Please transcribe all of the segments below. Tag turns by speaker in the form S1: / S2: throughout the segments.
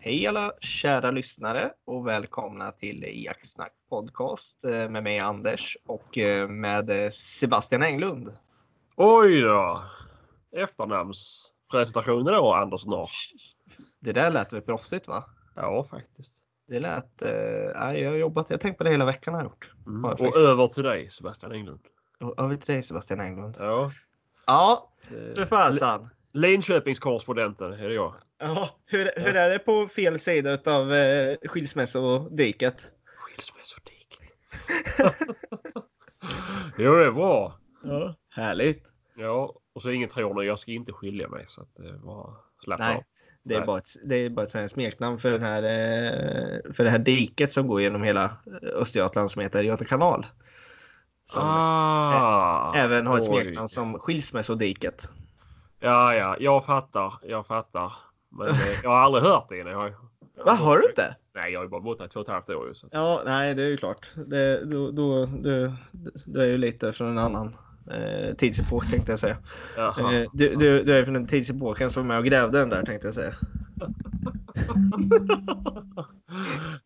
S1: Hej alla kära lyssnare och välkomna till Jaktsnack podcast eh, med mig Anders och eh, med Sebastian Englund.
S2: Oj då! Efternamnspresentationer då, Anders Norr.
S1: Det där lät väl proffsigt va?
S2: Ja, faktiskt.
S1: Det lät... Eh, jag har jobbat, jag har tänkt på det hela veckan har jag gjort.
S2: Mm. Och över till dig Sebastian Englund.
S1: Och över till dig Sebastian Englund. Eh,
S2: Ja,
S1: Ja, för fasen.
S2: Linköpingskorrespondenten är det jag.
S1: Ja, hur, hur är det på fel sida utav eh, skilsmässodiket?
S2: Skilsmässodiket. jo, det är bra.
S1: Ja. Härligt.
S2: Ja, och så ingen tror nu, jag ska inte skilja mig så att det var slappna
S1: Alltså, Nej,
S2: av.
S1: det är
S2: Nej.
S1: bara ett, det är bara ett sånt här smeknamn för, den här, eh, för det här diket som går genom hela Östergötland som heter Göta kanal. Som
S2: ah,
S1: även har ett
S2: oj.
S1: smeknamn som skilsmässodiket.
S2: Ja, ja, jag fattar. Jag fattar. Men eh, jag har aldrig hört det innan. Jag har,
S1: Vad har du inte?
S2: Nej, jag har ju bara bott här i två och ett halvt år ju. Så. att-
S1: Ja, nej, det är ju klart. Det, då, då, du, du är ju lite från en annan eh, tidsepok tänkte jag säga.
S2: Jaha.
S1: Eh, du, du, du är från den tidsepoken som var med och grävde den där tänkte jag säga.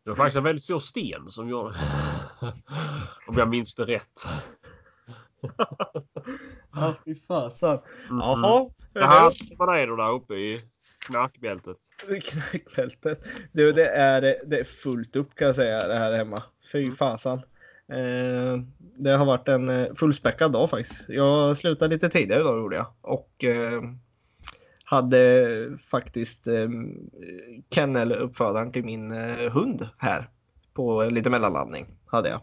S2: Det var faktiskt en väldigt stor sten som gjorde det. Om jag minns det rätt.
S1: Ja, fy fasen.
S2: Mm.
S1: Jaha.
S2: Det här man är då där uppe i knarkbältet.
S1: Knäckbältet. Du, det är, det är fullt upp kan jag säga det här hemma. Fy
S2: Mm.
S1: fasan. Eh, det har varit en eh, fullspäckad dag faktiskt. Jag slutade lite tidigare idag gjorde jag. Och eh, hade faktiskt eh, kenneluppfödaren till min eh, hund här. På lite mellanlandning hade jag.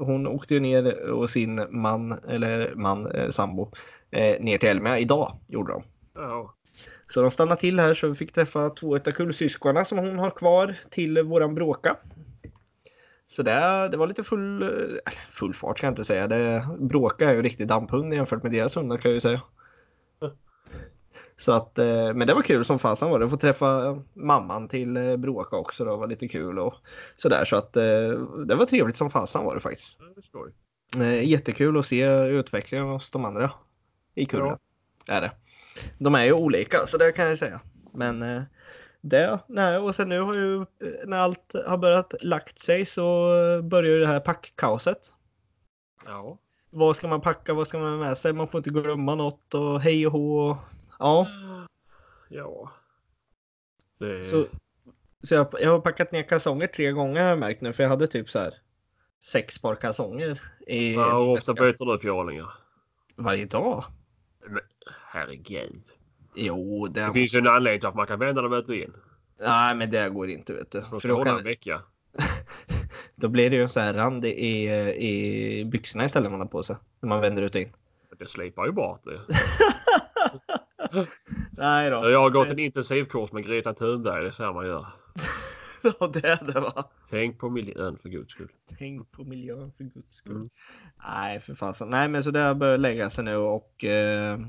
S1: Hon åkte ju ner och sin man, eller man, eh, sambo, eh, ner till Elmia idag gjorde de.
S2: Ja.
S1: Så de stannade till här så vi fick träffa två av kullsyskonen som hon har kvar till våran bråka. Så det, det var lite full, eller full fart kan jag inte säga. Det, bråka är ju en riktig damphund jämfört med deras hundar kan jag ju säga. Så att, eh, men det var kul som fasen var det. Att få träffa mamman till eh, bråka också då var lite kul och sådär. Så att eh, det var trevligt som fasen var det faktiskt.
S2: det är skoj.
S1: Eh, Jättekul att se utvecklingen hos de andra i kullen. Är det. De är ju olika, så det kan jag säga. Men eh, det, nej, och sen nu har ju, eh, när allt har börjat lagt sig så eh, börjar ju det här packkaoset.
S2: Ja.
S1: Vad ska man packa, vad ska man ha med sig, man får inte glömma något och hej och hå. och- Ja,
S2: Ja. Det...
S1: så, så jag, jag har packat ner kalsonger tre gånger har jag märkt nu, för jag hade typ så här sex par kalsonger i
S2: ja, hur ofta
S1: väskan.
S2: byter du fjolingar?
S1: varje dag.
S2: Herregud.
S1: Jo, det,
S2: Det finns ju en anledning till att man kan vända dem ut och in.
S1: Nej, men det går inte vet du.
S2: För att
S1: För då,
S2: hålla en
S1: kan,
S2: vecka.
S1: då blir det ju en sån här rand i, i byxorna istället man har på sig. När man vänder ut och in.
S2: Det slipar ju bort det.
S1: Nej då.
S2: Jag har gått en intensivkurs med Greta Thunberg. Det är så här man gör.
S1: Ja, det är det va.
S2: Tänk på miljön för guds skull.
S1: Tänk på miljön för guds skull.
S2: Mm.
S1: Nej, för fasen. Nej, men så det har börjat lägga sig nu och eh,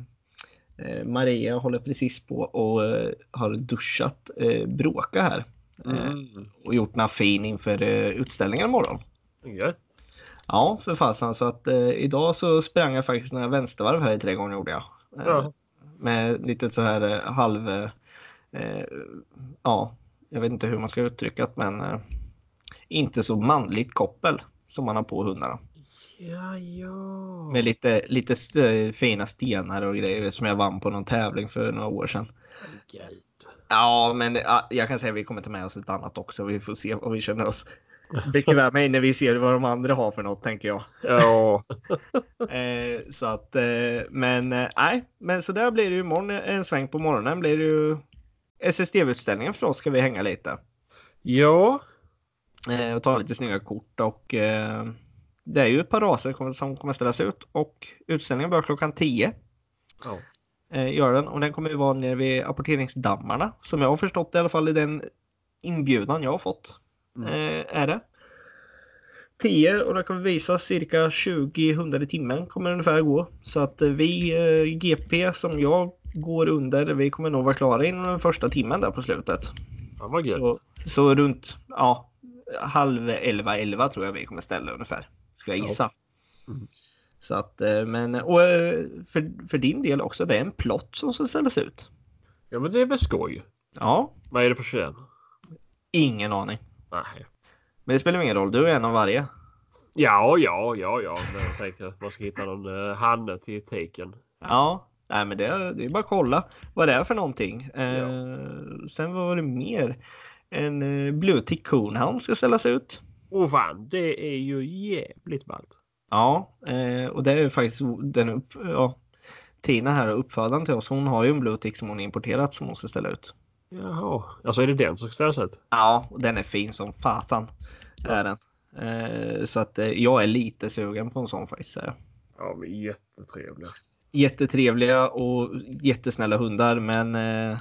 S1: eh, Maria håller precis på och eh, har duschat eh, Bråka här. Eh,
S2: Mm.
S1: och gjort mig fin inför eh, utställningen imorgon.
S2: Gött.
S1: Ja, för fasen. Så att eh, idag så sprang jag faktiskt några vänstervarv här i trädgården gjorde jag. Eh,
S2: Ja.
S1: Med lite så här eh, halv... Eh, eh, ja, jag vet inte hur man ska uttrycka det men eh, inte så manligt koppel som man har på hundarna.
S2: Ja, ja.
S1: Med lite, lite st- eh, fina stenar och grejer som jag vann på någon tävling för några år sedan.
S2: Herregud.
S1: Ja, men ja, jag kan säga att vi kommer ta med oss ett annat också. Vi får se vad vi känner oss bekväma i när vi ser vad de andra har för något tänker jag.
S2: Ja.
S1: Eh, så att, eh, men eh, nej, men så där blir det ju imorgon. eh, En sväng på morgonen blir det ju SSTV-utställningen för oss ska vi hänga lite.
S2: Ja.
S1: Eh, och ta lite snygga kort och eh, det är ju ett par raser kommer- som kommer ställas ut och utställningen börjar klockan 10.
S2: Ja.
S1: Eh, gör den och den kommer ju vara nere vid apporteringsdammarna som jag har förstått i alla fall i den inbjudan jag har fått.
S2: Mm.
S1: Eh, är det. 10 och det kommer visa cirka 20 hundar i timmen kommer det ungefär gå. Så att eh, vi eh, GP som jag går under, vi kommer nog vara klara inom den första timmen där på slutet.
S2: Fan vad gött.
S1: Så, så runt ja, halv elva, elva tror jag vi kommer ställa ungefär. Skulle jag
S2: Ja.
S1: gissa.
S2: Mm.
S1: Så att, eh, men, och eh, för, för din del också, det är en plott som ska ställas ut.
S2: Ja men det är väl skoj.
S1: Ja,
S2: Vad är det för kön?
S1: Ingen aning.
S2: Nej.
S1: Men det spelar ingen roll, du är en av varje.
S2: Ja, ja, ja, ja. Men jag tänkte att man ska hitta någon uh, hanne till taken.
S1: Ja, nej, men det, är- det är bara att kolla vad det är för någonting. Eh, Sen vad var det mer? En eh, Bluetick Coonhound ska ställas ut.
S2: Åh fan, det är ju jävligt ballt.
S1: Ja, eh, och det är ju faktiskt den upp, ja, Tina här, uppfödaren till oss, hon har ju en Bluetick som hon har importerat som hon ska ställa ut.
S2: Jaha, alltså är det den som ska ställas ut?
S1: Ja, och den är fin som fasan. Är den. Eh, så att eh, jag är lite sugen på en sån faktiskt. säger jag.
S2: Ja, men jättetrevliga.
S1: Jättetrevliga och jättesnälla hundar, men eh,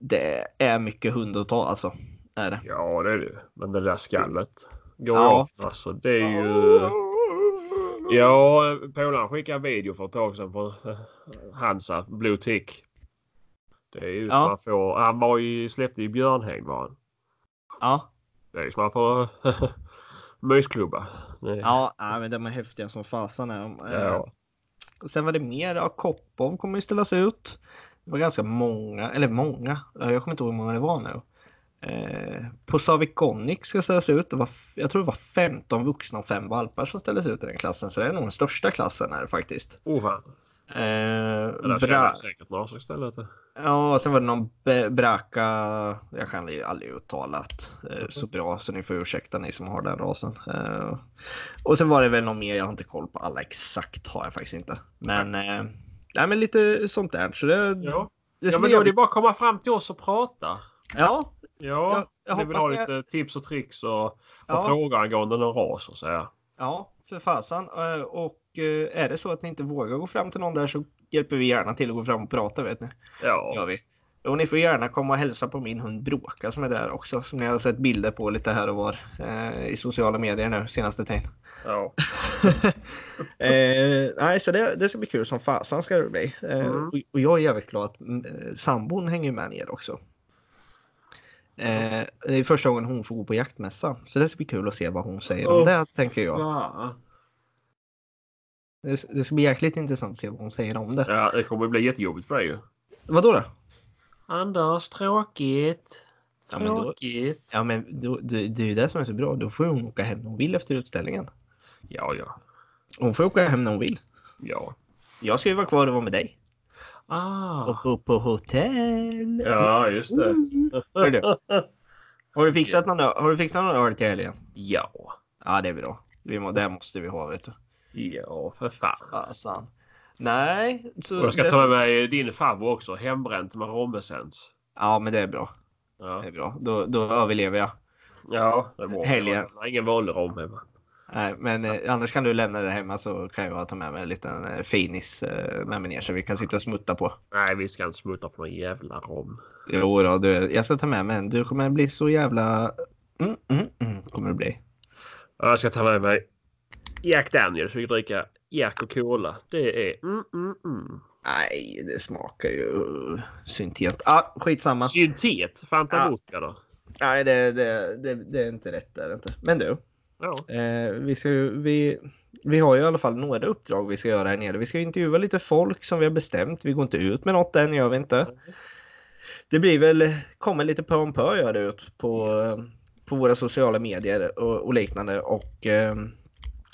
S1: det är mycket hund att ta alltså. Är det.
S2: Ja, det är det. Men det där skallet går
S1: Ja.
S2: ja. av. Alltså, det är ju... Ja, polaren skickade en video för ett tag sedan på Hansa, Blue Tick. Det är ju
S1: Ja.
S2: som man får. Han var ju, släppte i Björnhäng var han.
S1: Ja,
S2: Det är ju som man får mysklubba. Det-
S1: ja, nej, men de är häftiga som fasan är de. Eh,
S2: Ja.
S1: Och sen var det mer, ja, Koppov kommer ju ställas ut. Det var ganska många, eller många, ja, jag kommer inte ihåg hur många det var nu. Eh, på Saviconic ska ställas ut, det var, f- jag tror det var 15 vuxna och 5 valpar som ställdes ut i den klassen, så det är nog den största klassen här faktiskt.
S2: Oh fan.
S1: Eh,
S2: Det
S1: Bra-
S2: där känner säkert några som ställer ut det.
S1: Ja, och sen var det någon Be- Braka, jag kan ju aldrig uttalat eh, så bra så ni får ursäkta ni som har den rasen. Eh, och sen var det väl någon mer, jag har inte koll på alla exakt har jag faktiskt inte. Men, eh, nej, men lite sånt där. Så det,
S2: Ja,
S1: det ska bli
S2: ja men då är det
S1: jävligt-
S2: bara att komma fram till oss och prata.
S1: ja,
S2: Ja,
S1: jag, jag
S2: ni vill ha
S1: hoppas det.
S2: lite tips och tricks och, och
S1: Ja.
S2: frågor angående någon ras och så här.
S1: Ja, för fasen. Eh, och eh, är det så att ni inte vågar gå fram till någon där så hjälper vi gärna till att gå fram och prata vet ni.
S2: Ja,
S1: Gör vi. Och ni får gärna komma och hälsa på min hund Bråka som är där också, som ni har sett bilder på lite här och var eh, i sociala medier nu senaste tiden.
S2: ja.
S1: eh, nej, så det, det ska bli kul som fasan ska det bli. Eh,
S2: Mm.
S1: och, och jag är jävligt glad att mm, eh, sambon hänger med ner också. Eh, det är första gången hon får gå på jaktmässa, så det ska bli kul att se vad hon säger om
S2: Åh,
S1: det, tänker jag.
S2: Fan.
S1: Det, det ska bli jäkligt intressant att se vad hon säger om det.
S2: Ja, det kommer bli jättejobbigt för dig ju.
S1: Vad då?
S2: Anders, tråkigt.
S1: Ja, men då-
S2: Tråkigt.
S1: Ja, men då, det, det är ju det som är så bra. Då får hon åka hem när hon vill efter utställningen.
S2: Ja, ja.
S1: Hon får åka hem när hon vill.
S2: Ja.
S1: Jag ska ju vara kvar och vara med dig. Och
S2: Ah.
S1: bo på hotell.
S2: Ja, just det.
S1: Hör du? Har du fixat någon, ö- har du fixat någon öl till helgen?
S2: Ja.
S1: Ja, det är bra. Vi må, det måste vi ha, vet du.
S2: Ja, för fan.
S1: Fasan. Nej. Så
S2: Och jag ska
S1: det-
S2: ta med mig din favvo också. Hembränt med rommessens.
S1: Ja, men det är bra. Det
S2: Ja.
S1: är bra. Då, då överlever jag.
S2: ja, det är bra.
S1: Helgen.
S2: Jag har ingen vanlig rom hemma.
S1: Nej, men eh, annars kan du lämna det hemma så kan jag ta med mig en liten eh, finis eh, med mig ner så vi kan sitta och smutta på.
S2: Nej, vi ska inte smutta på någon jävla rom.
S1: Jo då, du, jag ska ta med mig en. Du kommer bli så jävla... Mm, mm, mm, kommer du bli.
S2: Jag ska ta med mig Jack Daniels. Vi ska dricka Jack och Cola. Det är mm, mm, mm.
S1: Nej, det smakar ju syntet. Ah, skitsamma.
S2: syntet. Fanta
S1: Ja.
S2: vodka då.
S1: Nej, det, det, det, det är inte rätt. Det är det inte. Men du,
S2: Ja.
S1: eh, vi, ska, ju- vi, vi har ju i alla fall några uppdrag vi ska göra här nere. Vi ska intervjua lite folk som vi har bestämt. Vi går inte ut med något än, gör vi inte. Det blir väl, kommer lite pö om pö gör det ut på, eh, på våra sociala medier och, och liknande. Och eh,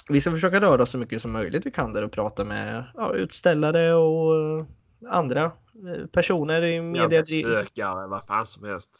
S1: vi ska försöka röra oss så mycket som möjligt vi kan där och prata med ja, utställare och eh, andra eh, personer i
S2: Jag
S1: media.
S2: besökare, vad fan som helst.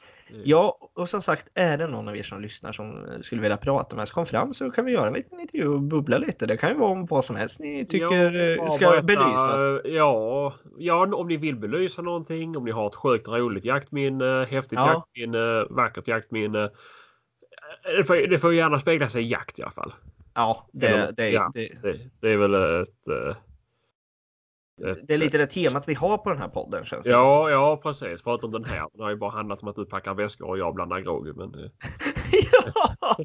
S1: Ja, och som sagt, är det någon av er som lyssnar som eh, skulle vilja prata med oss, kom fram så kan vi göra en liten intervju och bubbla lite. Det kan ju vara om vad som helst ni tycker eh,
S2: Ja,
S1: ska
S2: berätta,
S1: belysas.
S2: eh, Ja, ja, om ni vill belysa någonting, om ni har ett sjukt roligt jaktminne, häftigt
S1: Ja.
S2: jaktminne, vackert jaktminne. Eh, Det får, det får gärna spegla sig i jakt i alla fall.
S1: Ja, det,
S2: eller-
S1: det,
S2: ja.
S1: det,
S2: Det, det är väl ett... eh, ett- eh,
S1: det är lite det temat vi har på den här podden känns det som.
S2: Ja, ja precis. Förutom den här. Den har ju bara handlat om att du packar väskor och jag blandar grogg. Men eh,
S1: Ja!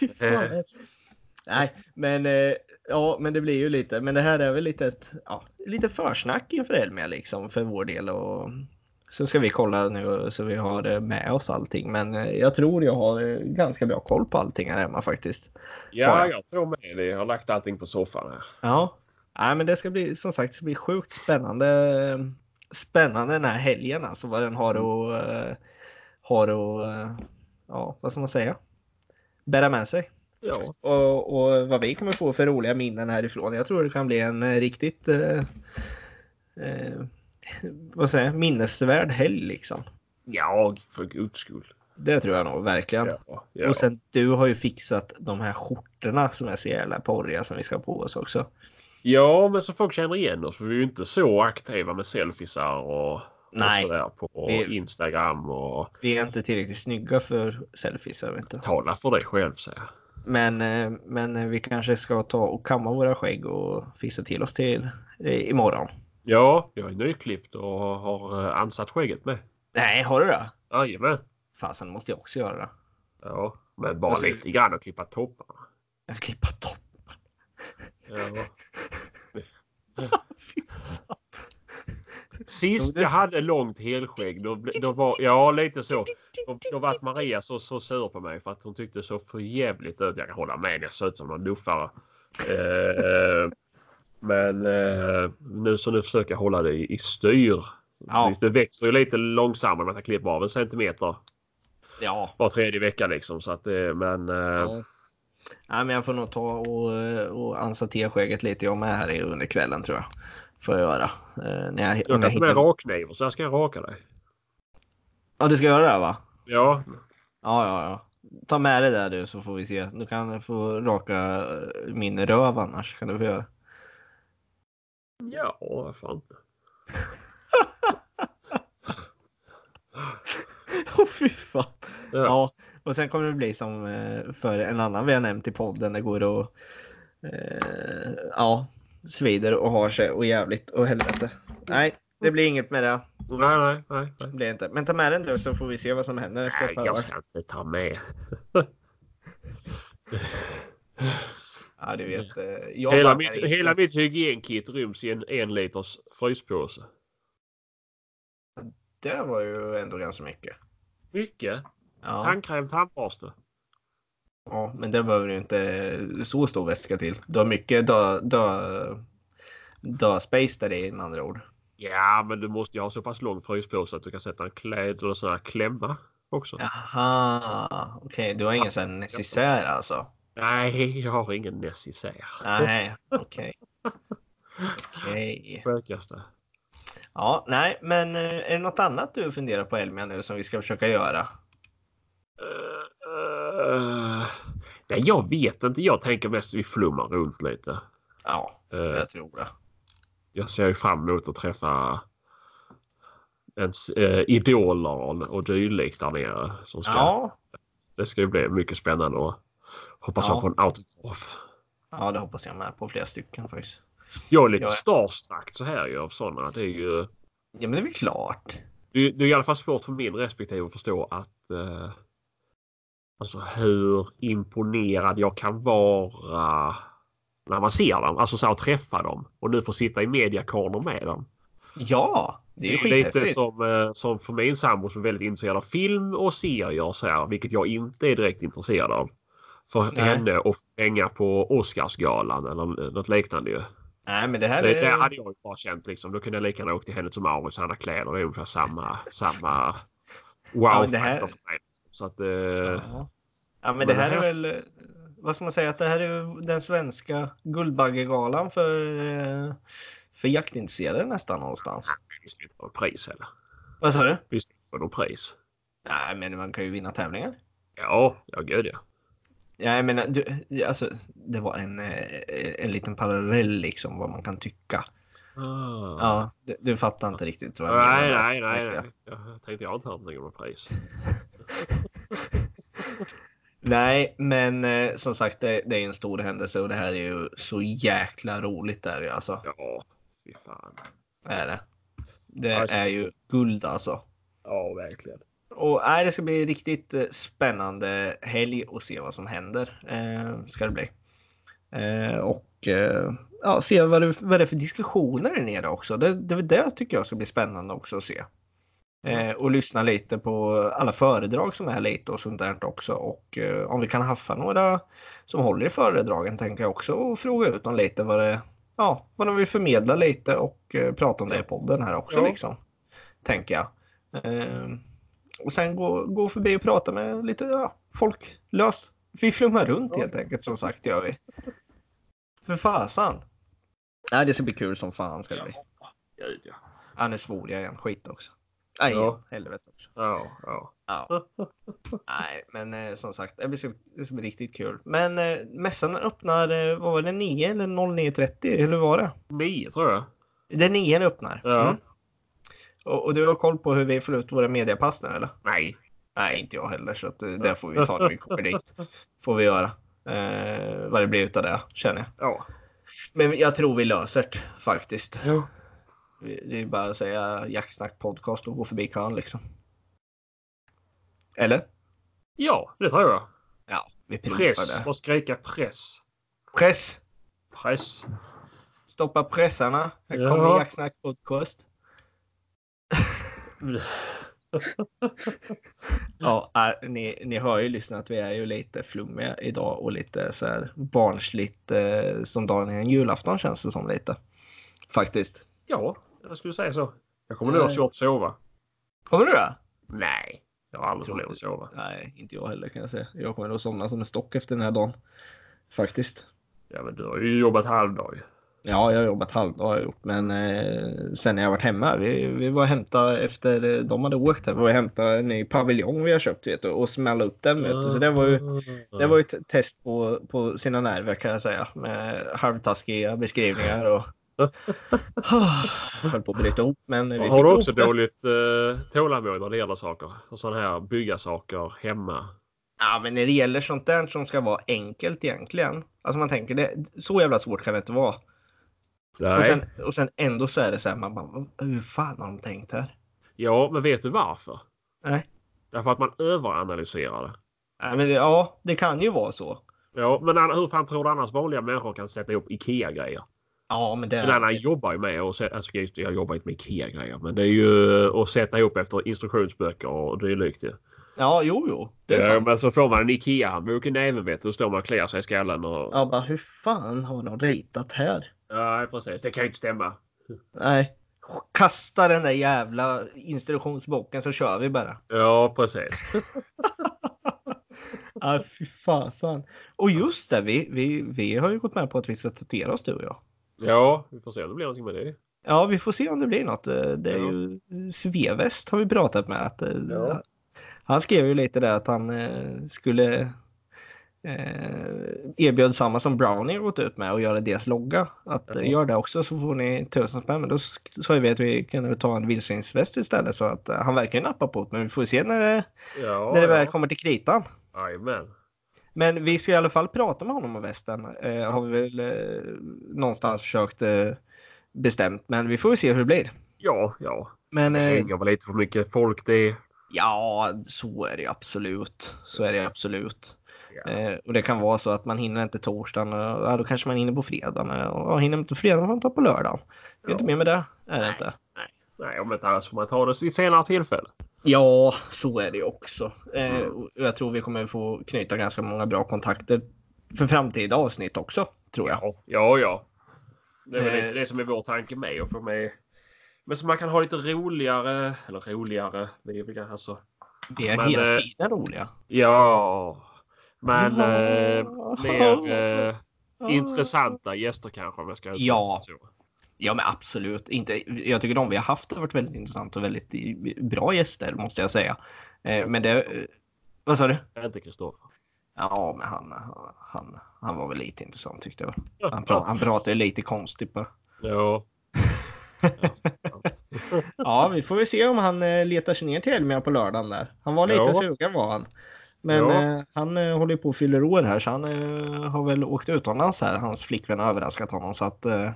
S1: Fy fan. Nej, men eh, ja, men det blir ju lite. Men det här är väl lite ett ja, lite försnack inför Elmia liksom för vår del och så ska vi kolla nu så vi har eh, med oss allting. Men eh, jag tror jag har eh, ganska bra koll på allting här hemma faktiskt.
S2: ja,
S1: Bara.
S2: jag tror med det. Jag har lagt allting på soffan här.
S1: Ja, Nej, men det ska bli som sagt det ska bli sjukt spännande eh, spännande den här helgen alltså vad den har
S2: Mm.
S1: att, eh, har att eh, ja, vad ska man säga? Bära med sig.
S2: Ja.
S1: Och, och vad vi kommer få för roliga minnen härifrån. Jag tror det kan bli en eh, riktigt eh, eh, vad säger jag, minnesvärd helg liksom.
S2: Ja, för guds skull.
S1: Det tror jag nog verkligen.
S2: Ja, ja.
S1: Och sen du har ju fixat de här skjortorna som är så jävla porriga som vi ska ha på oss också.
S2: ja, men så folk känner igen oss. För vi är ju inte så aktiva med selfiesar och,
S1: Nej.
S2: och sådär på
S1: Vi-
S2: Instagram. Och
S1: Vi är inte tillräckligt snygga för selfies. Jag vet inte.
S2: tala för dig själv säger jag.
S1: Men, eh, men eh, vi kanske ska ta och kamma våra skägg och fixa till oss till eh, imorgon.
S2: Ja, jag är nyklippt och har eh, ansatt skägget med.
S1: Nej, har du det?
S2: Jajamän.
S1: Fasen, det måste jag också göra det.
S2: Ja, men bara
S1: Alltså-
S2: lite grann och klippa topparna.
S1: Jag klippa topp.
S2: Ja. Sist jag hade långt helskägg då, ble- då var ja lite så. Då, då var Maria så, så sur på mig för att hon tyckte så för jävligt ut. Jag kan hålla med jag såg ut som en luffare. Eh, men eh, nu så nu försöker jag hålla det i, i styr.
S1: Ja.
S2: Det växer ju lite långsammare men jag klipper av en centimeter
S1: Ja.
S2: var tredje vecka liksom så att det men eh,
S1: ja. Nej, men jag får nog ta och, eh, och ansa till skägget lite jag med här i- under kvällen tror jag. Får jag göra. Eh, när jag,
S2: jag
S1: om jag
S2: kan ta med
S1: hittar...
S2: rakkniv och så här ska jag raka dig.
S1: Ja, du ska göra det här, va?
S2: Ja,
S1: Ja, ja, ja. Ta med det där du så får vi se. Du kan få raka eh, min röv annars kan du få göra.
S2: Ja, vad fan.
S1: Åh fy fan.
S2: Ja.
S1: Ja, och sen kommer det bli som eh, för en annan vi har nämnt i podden. Det går och eh, ja, svider och har sig och jävligt och helvete. Nej, det blir inget med det.
S2: Nej, nej, nej.
S1: det
S2: nej.
S1: blir inte. Men ta med den du så får vi se vad som händer efter
S2: nej
S1: ett par dagar.
S2: jag ska inte ta med.
S1: Ja, du vet. eh, Jag
S2: hela,
S1: bangar
S2: mitt,
S1: inte.
S2: hela mitt hygienkit ryms i en, en liters fryspåse.
S1: Det var ju ändå ganska mycket.
S2: Mycket.
S1: Ja,
S2: Tandkräm, tandborste.
S1: ja men det behöver du inte så stor väska till. Du har mycket dö, dö, dö space där i med andra ord.
S2: Ja, men du måste ju ha så pass lång fryspåse att du kan sätta en kläd eller sån här klämma också.
S1: Jaha, okej. Du har ingen sån här necessär alltså?
S2: Nej, jag har ingen necessär.
S1: Nej, okej. Okej.
S2: Sjukaste.
S1: Ja, nej, men eh, är det något annat du funderar på Elmia nu som vi ska försöka göra?
S2: Eh, eh, nej, jag vet inte. Jag tänker mest vi flummar runt lite.
S1: Ja,
S2: Eh,
S1: jag tror det.
S2: jag ser ju fram emot att träffa ens eh, idoler och, och dylikt där nere. Som ska,
S1: Ja,
S2: Det ska ju bli mycket spännande och hoppas
S1: Ja.
S2: jag på en autograf.
S1: ja, det hoppas jag med på flera stycken faktiskt.
S2: Jag är lite
S1: Ja.
S2: starstruck så här ju av sådana. Det är ju
S1: Ja, men det är väl klart.
S2: det, är- det är i alla fall svårt för min respektive att förstå att eh, alltså hur imponerad jag kan vara när man ser dem. Alltså så här, att träffa dem och nu få sitta i mediakorner med dem.
S1: Ja, det är ju
S2: lite
S1: skithäftigt.
S2: som, eh, som för min sambo som är väldigt intresserad av film och serier så här, vilket jag inte är direkt intresserad av. För
S1: Nej.
S2: henne att hänga på Oscarsgalan eller eh, något liknande ju.
S1: Nej, men det här
S2: Det, det
S1: är...
S2: hade jag ju bara känt liksom. Då kunde jag lika gärna åkt till henne som Maurits och andra kläder. Det är ungefär samma, samma
S1: Ja,
S2: wow-faktor
S1: men det här-
S2: för mig. Så att, eh,
S1: Ja. Ja, men
S2: Men
S1: det
S2: det
S1: här är
S2: här-
S1: väl... eh, Vad ska man säga? Att det här är den svenska Guldbaggegalan för, eh, för jaktintresserade nästan någonstans.
S2: vi ska inte få något pris heller.
S1: Vad sa du?
S2: Vi ska inte få något pris.
S1: Nej, men man kan ju vinna tävlingar.
S2: Ja, ja gud ja.
S1: Ja, jag menar, du, alltså, det var en, eh, en liten parallell liksom vad man kan tycka.
S2: Ah.
S1: Ja, du, du fattar inte riktigt vad jag menar.
S2: nej,
S1: där,
S2: nej, nej,
S1: märkte jag.
S2: nej. Jag tänkte jag har inte hört någonting om något pris.
S1: Nej, men eh, som sagt det, det är ju en stor händelse och det här är ju så jäkla roligt där ju, alltså.
S2: Ja, fy fan.
S1: Det Är det. det
S2: Alltså.
S1: är ju guld alltså.
S2: Ja, verkligen.
S1: Och nej, det ska bli riktigt eh, spännande helg och se vad som händer. Eh, ska det bli. Eh, och eh, ja, se vad det, vad det är för diskussioner där nere också. Det, det, det tycker jag ska bli spännande också att se. Eh, och lyssna lite på alla föredrag som är lite och sånt där också. Och eh, om vi kan haffa några som håller i föredragen tänker jag också och fråga ut dem lite vad det, ja, vad de vill förmedla lite och eh, prata om det i podden här också.
S2: Ja.
S1: Liksom, tänker jag. Eh, och sen gå, gå förbi och prata med lite ja, folk löst. Vi flummar runt
S2: Ja.
S1: helt enkelt som sagt gör vi. För fasan. Nej, det ska bli kul som fan ska det bli.
S2: Gud, ja.
S1: Ja, nu svor jag igen. Skit också. Nej,
S2: Ja.
S1: helvete också.
S2: Ja, ja.
S1: Ja. Nej, men eh, som sagt, det ska, det ska bli riktigt kul. Men eh, mässan öppnar, eh, vad var det, 9 eller 09.30? Eller hur var det?
S2: Nio tror jag.
S1: Det är 9 det öppnar. Mm.
S2: Ja.
S1: Och, och du har koll på hur vi får ut våra mediapass nu eller?
S2: Nej.
S1: Nej, inte jag heller, så att, eh, det får vi ta när vi kommer dit. Får vi göra. Eh, vad det blir utav det, känner jag.
S2: Ja.
S1: Men jag tror vi löser det faktiskt.
S2: Ja.
S1: Vi- Det är bara att säga Jacksnack podcast och gå förbi kön liksom. Eller?
S2: ja, det tror jag.
S1: Ja, vi primpar
S2: Press.
S1: det.
S2: Och skrika press.
S1: Press!
S2: Press.
S1: Stoppa pressarna. Här
S2: Ja.
S1: kommer Jacksnack podcast. Ja, äh, ni, ni hör ju lyssnat. Vi är ju lite flummiga idag och lite så här barnsligt eh, som dagen innan julafton känns det som lite. Faktiskt.
S2: Ja, jag skulle säga så. Jag kommer nog ha svårt att sova.
S1: Kommer du det?
S2: Nej, jag har aldrig problem att sova.
S1: Nej, inte jag heller kan jag säga. Jag kommer nog somna som en stock efter den här dagen. Faktiskt.
S2: Ja, men du har ju jobbat halvdag. ju.
S1: Ja, jag har jobbat halvdag har jag gjort, men eh, sen när jag varit hemma. Vi, vi var och hämtade efter eh, de hade åkt här. Vi var och hämtade en ny paviljong vi har köpt vet du, och smälla upp den. Vet du. Så det var ju Det
S2: Mm.
S1: var ju ett test på, på sina nerver kan jag säga med halvtaskiga beskrivningar och höll på att bryta ihop. Men vi
S2: Och
S1: fick
S2: har du
S1: ihop
S2: också
S1: det.
S2: dåligt eh, tålamod när det gäller saker? Och sådana här bygga saker hemma?
S1: Ja, men när det gäller sånt där som ska vara enkelt egentligen. Alltså man tänker det, så jävla svårt kan det inte vara.
S2: Nej.
S1: Och sen, och sen ändå så är det så här, man bara, hur fan har de tänkt här?
S2: Ja, men vet du varför?
S1: Nej.
S2: Därför att man överanalyserar det.
S1: Ja, men det, ja, det kan ju vara så.
S2: Ja, men an- hur fan tror du annars vanliga människor kan sätta ihop IKEA-grejer?
S1: Ja, men
S2: En
S1: det,
S2: annan jobbar ju med och sä- alltså, just det, jag jobbar inte med IKEA-grejer, men det är ju eh, att sätta ihop efter instruktionsböcker och dylikt. ju.
S1: ja, jo, jo, det är
S2: Ja,
S1: sant.
S2: men så får man en IKEA-handbok i näven vet du, och står man och kliar sig i skallen och...
S1: Ja, bara, hur fan har de ritat här?
S2: Nej, precis. Det kan ju inte stämma.
S1: Nej. Kasta den där jävla instruktionsboken så kör vi bara.
S2: Ja, precis.
S1: Ah, fy fasan. Och just det, vi, vi, vi har ju gått med på att vi ska tatuera oss du och jag.
S2: Ja, vi får se om det blir någonting med det.
S1: Ja, vi får se om det blir något. Eh, Det är
S2: Ja.
S1: ju Svevest har vi pratat med. Att, eh,
S2: Ja.
S1: Han skrev ju lite där att han eh, skulle eh, erbjöd samma som Brownie har gått ut med och göra deras logga. Att
S2: Ja.
S1: eh, gör det också så får ni tusen spänn. Men då sk- sa ju vi att vi kan ta en vildsvinsväst istället så att eh, han verkar ju nappa på det. Men vi får se när det,
S2: Ja,
S1: när det väl
S2: ja.
S1: kommer till kritan.
S2: Jajamän.
S1: Men vi ska i alla fall prata med honom om västen. Eh, har vi väl eh, någonstans försökt eh, bestämt. Men vi får ju se hur det blir.
S2: Ja, ja.
S1: Men
S2: Det
S1: eh,
S2: hänger väl lite för mycket folk det.
S1: ja, så är det ju absolut. Så är det ju absolut.
S2: Ja.
S1: Eh, och det kan vara så att man hinner inte torsdagen. Och, ja, då kanske man hinner på fredagen. eh, Och, och hinner man inte på fredagen får man ta på lördagen. Det är
S2: Ja.
S1: inte mer med det. Är det
S2: Nej.
S1: inte?
S2: Nej, om inte annars får man ta det i ett senare tillfälle.
S1: Ja, så är det ju också. Eh,
S2: Mm.
S1: och jag tror vi kommer få knyta ganska många bra kontakter för framtida avsnitt också. Tror jag.
S2: Ja, ja. ja. Det är väl
S1: Eh.
S2: lite det som är vår tanke med att få med. Men så man kan ha lite roligare, eller roligare, vi är väl alltså.
S1: Vi är
S2: Men,
S1: hela
S2: eh,
S1: tiden roliga.
S2: Ja. Men
S1: Ja.
S2: eh, mer eh, intressanta gäster kanske om jag ska uttrycka
S1: Ja.
S2: det så.
S1: Ja men absolut. Inte, jag tycker de vi har haft har varit väldigt intressant och väldigt eh, bra gäster måste jag säga. Eh, Men det... eh, Vad sa du?
S2: Inte Kristoffer.
S1: Ja men han, han, han var väl lite intressant tyckte jag. Han, pra, han pratade lite konstigt bara.
S2: Ja.
S1: Ja vi får väl se om han eh, letar sig ner till Elmia på lördagen där. Han var lite
S2: Ja.
S1: sugen var han. Men
S2: Ja.
S1: eh, han eh, håller ju på och fyller år här så han eh, har väl åkt utomlands här. Hans flickvän har överraskat honom så att... Eh,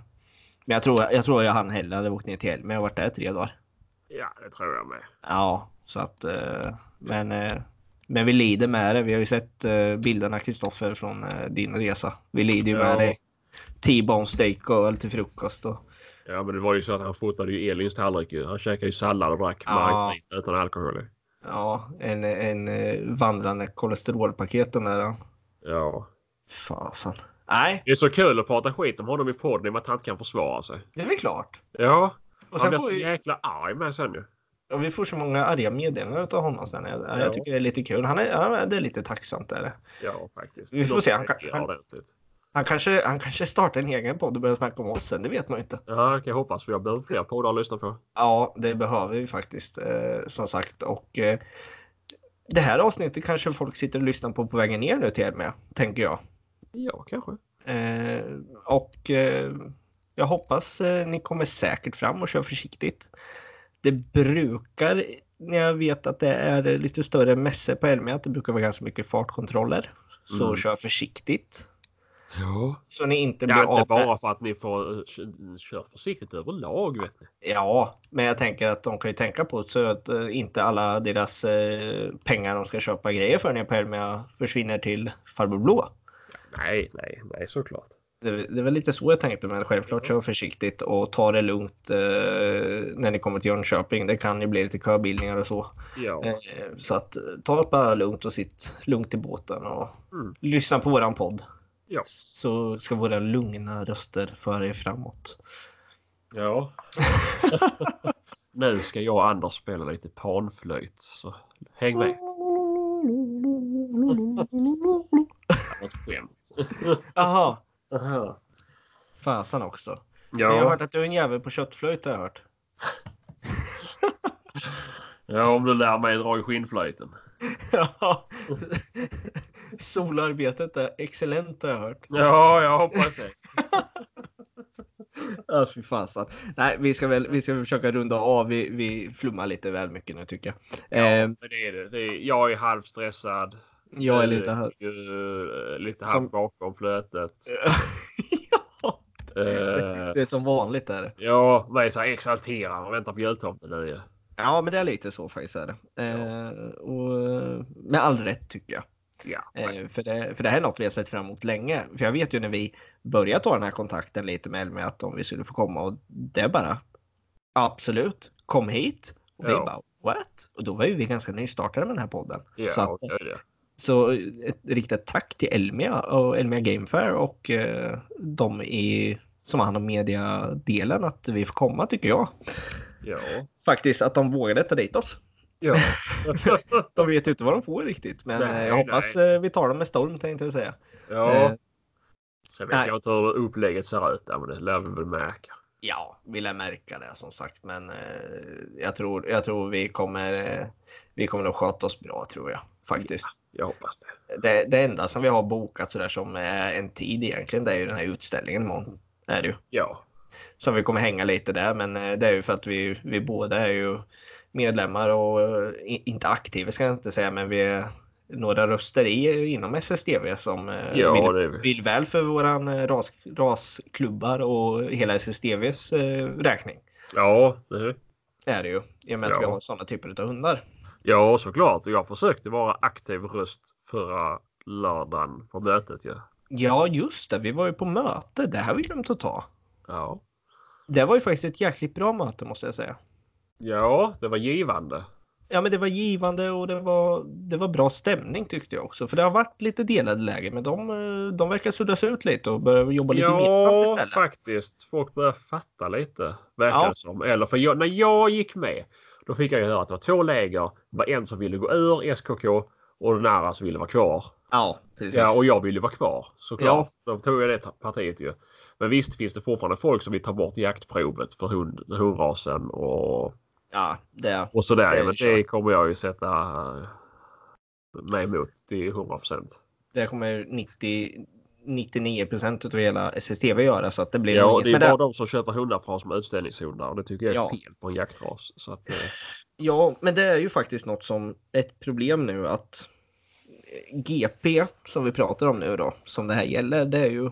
S1: men jag tror, jag tror jag han hellre hade åkt ner till Elmia och varit där tre dagar.
S2: ja, det tror jag med.
S1: Ja, så att... eh, Men, eh, men vi lider med det. Vi har ju sett eh, bilderna Kristoffer från eh, din resa. Vi lider ju med
S2: Ja.
S1: det. T-bone steak och öl till frukost. Och,
S2: Ja, men det var ju så att han fotade ju Elins tallrik ju. Han käkade ju sallad och drack
S1: Ja.
S2: margarita utan alkohol. i.
S1: ja, en, en eh, vandrande kolesterolpaket den där.
S2: Ja.
S1: Fasen. Nej,
S2: Det är så kul att prata skit om honom i podden i och med att han inte kan försvara sig.
S1: det är väl klart.
S2: Ja,
S1: Och
S2: han
S1: sen
S2: blir
S1: får
S2: så
S1: vi,
S2: jäkla arg med sen ju.
S1: ja, vi får så många arga meddelanden av honom sen. Jag,
S2: Ja.
S1: jag tycker det är lite kul. Han är, ja, det är lite tacksamt. Där.
S2: Ja, faktiskt.
S1: Vi får
S2: De
S1: se, han kan-
S2: reagerar
S1: han-
S2: ordentligt.
S1: Han, kanske, han kanske startar en egen podd och börjar snacka om oss sen. Det vet man ju inte.
S2: Ja, jag hoppas. För jag behöver fler poddar att lyssna på.
S1: Ja, det behöver vi faktiskt eh, som sagt. Och eh, det här avsnittet kanske folk sitter och lyssnar på på vägen ner nu till med, tänker jag.
S2: Ja, kanske.
S1: Eh, och eh, jag hoppas eh, ni kommer säkert fram och kör försiktigt. Det brukar, när jag vet att det är lite större mässor på Elmia, att det brukar vara ganska mycket fartkontroller. Så
S2: Mm.
S1: kör försiktigt.
S2: Ja.
S1: Så ni inte blir
S2: Ja, inte
S1: av med-
S2: bara för att ni får eh, kö- köra försiktigt överlag. Vet ni.
S1: Ja, men jag tänker att de kan ju tänka på det så att eh, inte alla deras eh, pengar de ska köpa grejer för när på Elmia försvinner till farbror blå.
S2: Nej, nej, nej såklart.
S1: Det, det är väl lite så jag tänkte, men självklart kör försiktigt och ta det lugnt eh, när ni kommer till Jönköping. Det kan ju bli lite köbildningar och så.
S2: Ja,
S1: Eh, så att eh, ta det bara lugnt och sitt lugnt i båten och
S2: Mm.
S1: lyssna på våran podd.
S2: Ja.
S1: Så ska våra lugna röster föra er framåt.
S2: ja. nu ska jag och Anders spela lite panflöjt. Så häng med. Det var ett skämt.
S1: Jaha, fasen också. Men jag har
S2: Ja.
S1: hört att du är en jävel på köttflöjt har jag hört.
S2: ja, om du lär mig dra i skinnflöjten.
S1: Ja. Solarbetet är excellent har jag hört.
S2: Ja, jag hoppas det.
S1: Ja, fy fasen. Nej, vi ska väl vi ska försöka runda av. Vi, vi flummar lite väl mycket nu tycker jag. Eh,
S2: Men det är det. det är, jag är halvstressad.
S1: jag är
S2: Du
S1: lite här.
S2: ju, eh, lite
S1: Som-
S2: halvt bakom flötet.
S1: ja,
S2: Eh,
S1: det är som vanligt där.
S2: ja, man är så här exalterad och väntar på jultomten nu ju.
S1: Ja, men det är lite så faktiskt. Är det. Eh, och, eh, med all rätt tycker jag.
S2: Ja,
S1: Eh, för, det, för det här är något vi har sett fram emot länge. För jag vet ju när vi började ta den här kontakten lite med Elmia att om vi skulle få komma och det bara absolut, kom hit. Och vi
S2: Ja.
S1: bara what? Och då var ju vi ganska nystartade med den här podden.
S2: ja,
S1: så att-
S2: det är det.
S1: Så eh, ett riktigt tack till Elmia och Elmia Game Fair och eh, de i, som har hand om mediadelen att vi får komma tycker jag.
S2: Ja.
S1: Faktiskt att de vågade ta dit oss.
S2: ja.
S1: De vet ju inte vad de får riktigt men
S2: Nej,
S1: eh, jag hoppas eh, vi tar dem med storm tänkte jag säga. Eh,
S2: ja. Sen vet
S1: nej.
S2: jag inte hur upplägget ser ut där, men det lär vi väl märka.
S1: Ja, vi lär märka det som sagt men eh, jag tror, jag tror vi kommer eh, vi kommer nog sköta oss bra tror jag faktiskt.
S2: Jag hoppas det.
S1: Det, det enda som vi har bokat sådär som är en tid egentligen det är ju den här utställningen imorgon. Är det ju.
S2: Ja.
S1: som vi kommer hänga lite där. Men eh, det är ju för att vi, vi båda är ju medlemmar och eh, i- inte aktiva ska jag inte säga, men vi är några röster i, inom SSDV som eh,
S2: Ja,
S1: vill,
S2: det är vi.
S1: vill väl för våran eh, ras, rasklubbar och hela SSDVs eh, räkning.
S2: Ja, det är vi.
S1: Är det ju. I och med att
S2: Ja.
S1: vi har sådana typer av hundar.
S2: Ja, såklart. Och jag försökte vara aktiv röst förra lördagen på mötet ju. Ja.
S1: Ja, just det. Vi var ju på möte. Det här har vi glömt att ta.
S2: ja.
S1: Det var ju faktiskt ett jäkligt bra möte måste jag säga.
S2: Ja, det var givande.
S1: Ja men det var givande och det var, det var bra stämning tyckte jag också. För det har varit lite delade läger men de, eh, de verkar suddas ut lite och börjar jobba lite gemensamt
S2: Ja,
S1: istället.
S2: faktiskt. Folk börjar fatta lite, verkar
S1: Ja.
S2: det som. Eller för jag, när jag gick med, då fick jag ju höra att det var två läger. Det var en som ville gå ur SKK och den andra som ville vara kvar.
S1: Ja, precis.
S2: Ja, och jag ville vara kvar såklart. Då tog jag det ta- partiet ju. Men visst finns det fortfarande folk som vill ta bort jaktprovet för hund, hundrasen och,
S1: ja, det.
S2: och sådär.
S1: Det är
S2: Det, men
S1: ju
S2: det kommer jag ju sätta eh, mig emot till 100 procent.
S1: det kommer 90, 99 procent av hela SSTV göra så att det blir
S2: Ja,
S1: inget
S2: det är
S1: med
S2: bara
S1: det.
S2: de som köper hundar från som utställningshundar och det tycker jag är
S1: Ja.
S2: fel på en jaktras. Så att, eh,
S1: Ja, men det är ju faktiskt något som ett problem nu att GP som vi pratar om nu då, som det här gäller, det är ju,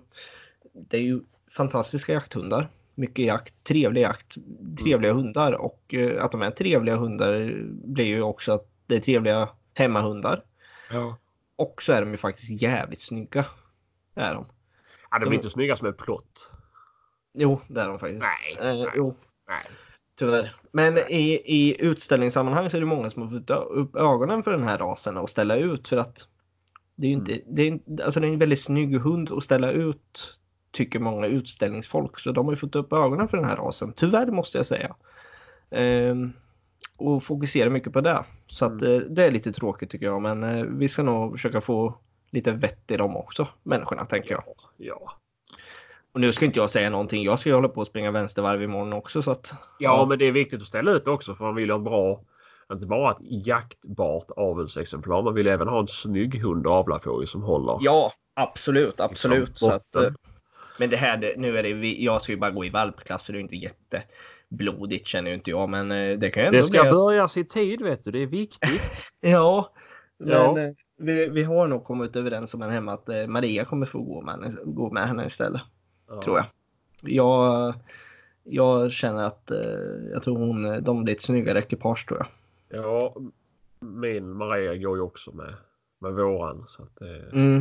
S1: det är ju fantastiska jakthundar. Mycket jakt, trevlig jakt, trevliga hundar och eh, att de är trevliga hundar blir ju också att det är trevliga hemmahundar.
S2: ja.
S1: Och så är de ju faktiskt jävligt snygga. Det är de.
S2: Ja, de är
S1: De-
S2: inte snygga som en plott.
S1: Jo, det är de faktiskt.
S2: Nej,
S1: Eh,
S2: nej.
S1: jo,
S2: Nej.
S1: Tyvärr. Men i, i utställningssammanhang så är det många som har fått upp ögonen för den här rasen och ställa ut för att Det är ju inte, det är, inte- alltså det är en väldigt snygg hund att ställa ut, tycker många utställningsfolk. Så de har ju fått upp ögonen för den här rasen, tyvärr måste jag säga. Ehm, och fokuserar mycket på det. Så att, eh, det är lite tråkigt tycker jag, men eh, vi ska nog försöka få lite vett i dem också, människorna tänker jag.
S2: Ja,
S1: Och nu ska inte jag säga någonting, jag ska ju hålla på att springa vänstervarv imorgon också. Så att,
S2: ja men det är viktigt att ställa ut också för man vill ha ett bra, inte bara ett jaktbart avelsexemplar, man vill även ha en snygg hund att avla på ju som håller.
S1: Ja, absolut, absolut.
S2: Liksom,
S1: Så att, eh,
S2: botten.
S1: men det här, det- nu är det, vi- jag ska ju bara gå i valpklass så det är ju inte jätteblodigt känner ju inte jag. Men eh, det kan ju ändå
S2: Det ska
S1: bli... att-
S2: börja i tid vet du, det är viktigt.
S1: Ja,
S2: Ja.
S1: men eh, vi, vi har nog kommit överens om en hemma att eh, Maria kommer få gå med henne, gå med henne istället. Tror jag. jag. Jag känner att eh, jag tror hon, de blir ett snyggare ekipage tror jag.
S2: Ja, min Maria går ju också med, med våran. Så att, eh,
S1: Mm.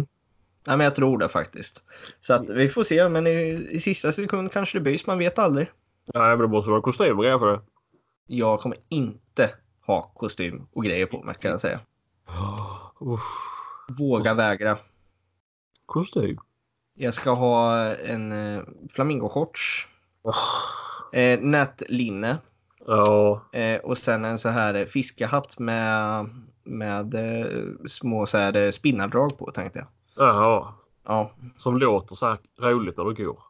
S1: Nej, men jag tror det faktiskt. Så att, vi får se, men i, i sista sekund kanske det byts, man vet aldrig.
S2: Nej, men det måste vara kostym och grejer för det.
S1: Jag kommer inte ha kostym och grejer på mig kan jag säga.
S2: Uff,
S1: Våga vägra.
S2: kostym.
S1: Jag ska ha en eh, flamingoshorts, eh, nätlinne
S2: Ja,
S1: eh, och sen en så här eh, fiskehatt med, med eh, små så här, eh, spinnardrag på tänkte jag.
S2: jaha.
S1: Ja.
S2: Som låter så här roligt när du går.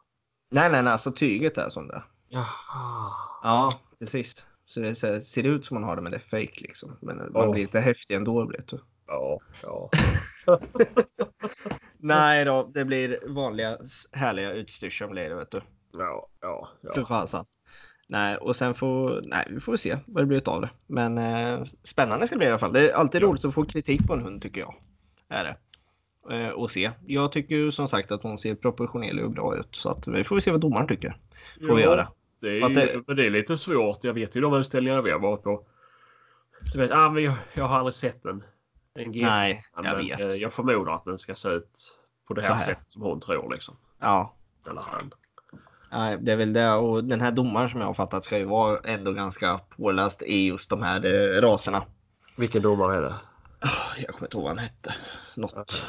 S1: Nej, nej, nej, alltså tyget är som det är.
S2: Jaha.
S1: Ja, precis. Så det är så här, ser det ut som man har det, men det är fake liksom. Men man
S2: Ja.
S1: blir lite häftig ändå. Blir det.
S2: Ja, ja.
S1: Nej då, det blir vanliga s- härliga utstyrseln blir det vet du.
S2: Ja, ja,
S1: För
S2: ja.
S1: fasen. Nej, och sen får, nej, vi får se vad det blir av det. Men eh, spännande ska det bli i alla fall. Det är alltid
S2: Ja.
S1: roligt att få kritik på en hund tycker jag. Är det. Eh, och se. Jag tycker ju som sagt att hon ser proportionerlig och bra ut. Så att vi får se vad domaren tycker. Får vi
S2: Ja,
S1: göra.
S2: Det är,
S1: Att det-
S2: ju, men det är lite svårt. Jag vet ju de utställningar vi har varit på. Du vet, ah, men jag, jag har aldrig sett en, en GP.
S1: Nej,
S2: Ja,
S1: jag
S2: men,
S1: vet.
S2: eh, Jag förmodar att den ska se ut på det
S1: Så
S2: här,
S1: här.
S2: sättet som hon tror. Liksom.
S1: Ja,
S2: Eller han.
S1: nej, det är väl det. Och den här domaren som jag har fattat ska ju vara ändå ganska påläst i just de här eh, raserna.
S2: Vilken domare är det?
S1: Ah, Jag kommer inte ihåg vad han hette. Något.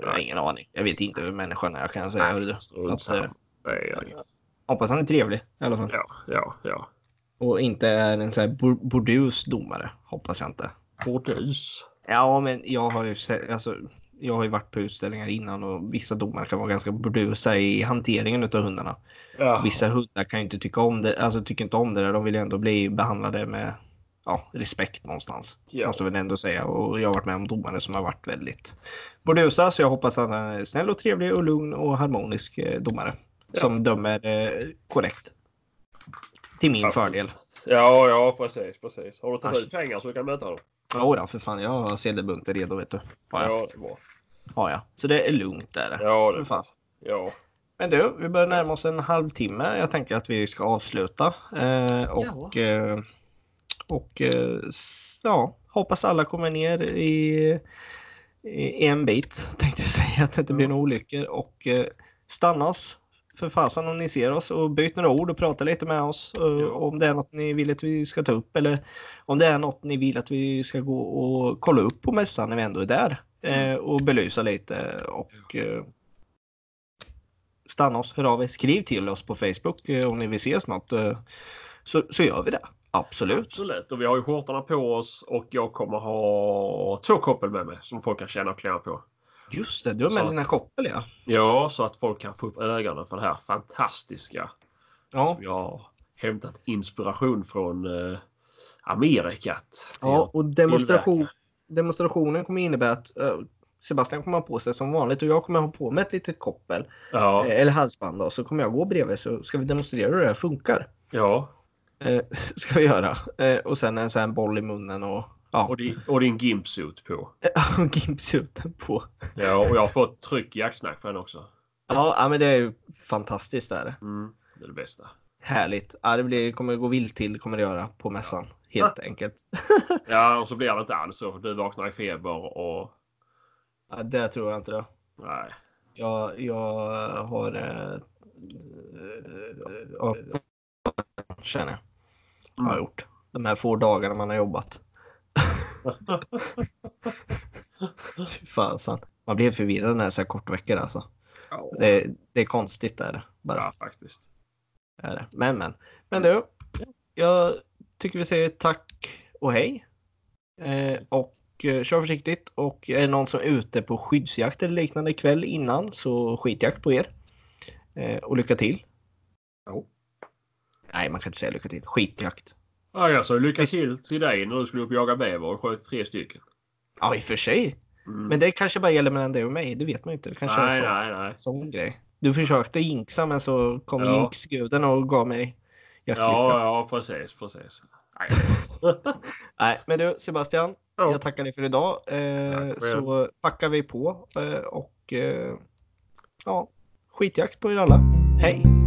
S1: Jag har
S2: Nej.
S1: ingen aning. Jag vet inte hur människan är kan jag säga. hörru du. Så
S2: Strunt
S1: att, eh,
S2: samma. Nej, jag-
S1: hoppas han är trevlig i alla fall.
S2: Ja, ja, ja.
S1: Och inte är en sån här bur- burdus domare. Hoppas jag inte.
S2: Bordus.
S1: Ja, men jag har ju, se- alltså, jag har ju varit på utställningar innan och vissa domare kan vara ganska burdusa i hanteringen utav hundarna.
S2: Ja.
S1: Vissa hundar kan ju inte tycka om det, alltså tycker inte om det där. De vill ju ändå bli behandlade med ja, respekt någonstans.
S2: Ja.
S1: Måste jag väl ändå säga. Och jag har varit med om domare som har varit väldigt burdusa. Så jag hoppas att han är snäll och trevlig och lugn och harmonisk eh, domare.
S2: Ja.
S1: Som dömer eh, korrekt. Till min
S2: Absolut.
S1: fördel.
S2: ja, ja, precis, precis. Har du tagit
S1: Asch.
S2: ut pengar så du kan möta honom?
S1: Jo då, för fan. Jag har sedelbunten redo vet du. Har jag.
S2: det är bra.
S1: Har jag. Så det är lugnt där.
S2: Ja,
S1: För
S2: det,
S1: fan.
S2: ja.
S1: Men du, vi börjar närma oss en halvtimme. Jag tänker att vi ska avsluta. Eh, och eh, och eh, s- ja, hoppas alla kommer ner i, i en bit. Tänkte jag säga att det inte blir
S2: Ja.
S1: några olyckor. Och eh, stanna oss för fasen om ni ser oss och byt några ord och prata lite med oss. eh,
S2: Ja.
S1: Om det är något ni vill att vi ska ta upp eller om det är något ni vill att vi ska gå och kolla upp på mässan när vi ändå är där.
S2: Mm.
S1: Eh, och belysa lite och eh, stanna oss, hör av er, skriv till oss på Facebook eh, om ni vill se snart. Eh, så, så gör vi det. Absolut.
S2: Absolut. Och vi har ju skjortorna på oss och jag kommer ha två koppel med mig som folk kan känna och klä på.
S1: Just det, du har med
S2: Så-
S1: dina koppel ja.
S2: Ja, så att folk kan få upp ögonen för det här fantastiska
S1: Ja,
S2: som jag har hämtat inspiration från eh, Amerikat.
S1: ja och demonstration,
S2: tillverkare.
S1: demonstrationen kommer innebära att eh, Sebastian kommer ha på sig som vanligt och jag kommer ha på mig ett litet koppel
S2: Ja,
S1: eh, eller halsband då, så kommer jag gå bredvid så ska vi demonstrera hur det här funkar.
S2: ja.
S1: Eh, ska vi göra. Eh, och sen en sån här boll i munnen och ja,
S2: Och, din, och din gimpsuit på.
S1: och gimpsuten på.
S2: Ja, och jag har fått tryck jaktsnack för den också.
S1: Ja, ja, men det är ju fantastiskt där.
S2: Mm, det är det bästa.
S1: Härligt. Ja, det blir, kommer gå vilt till kommer det göra på mässan. Helt enkelt.
S2: Ja, och så blir det inte alls så. Du vaknar i feber och...
S1: Ja, det tror jag inte då.
S2: Nej.
S1: Jag, jag har... Eh, ja, känner jag. Har
S2: Mm.
S1: jag gjort. De här få dagarna man har jobbat. Fy Fasen. Man blev förvirrad när det är så här kort veckor alltså.
S2: Ja,
S1: Det, det är konstigt är det. Bara.
S2: ja faktiskt.
S1: Är det. Men men. Men du. Jag tycker vi säger tack och hej. Eh, och eh, kör försiktigt. Och är det någon som är ute på skyddsjakt eller liknande kväll innan så skitjakt på er. Eh, och lycka till.
S2: Ja.
S1: Nej, man kan inte säga lycka till. Skitjakt.
S2: Ja, jag sa lycka till till dig när du skulle upp och jaga bäver och sköt tre stycken.
S1: Ja, i och för sig.
S2: Mm.
S1: Men det kanske bara gäller mellan dig och mig. Det vet man ju inte. Det kanske är
S2: nej,
S1: så.
S2: nej, nej.
S1: sån grej. Du försökte jinxa men så kom
S2: Ja.
S1: jinxguden och gav mig jaktlycka.
S2: Ja, ja, precis, precis. Nej.
S1: Nej, men du Sebastian,
S2: Ja.
S1: jag tackar dig för idag. Eh,
S2: Tack själv.
S1: så packar vi på eh, och eh, ja, skitjakt på er alla. Hej!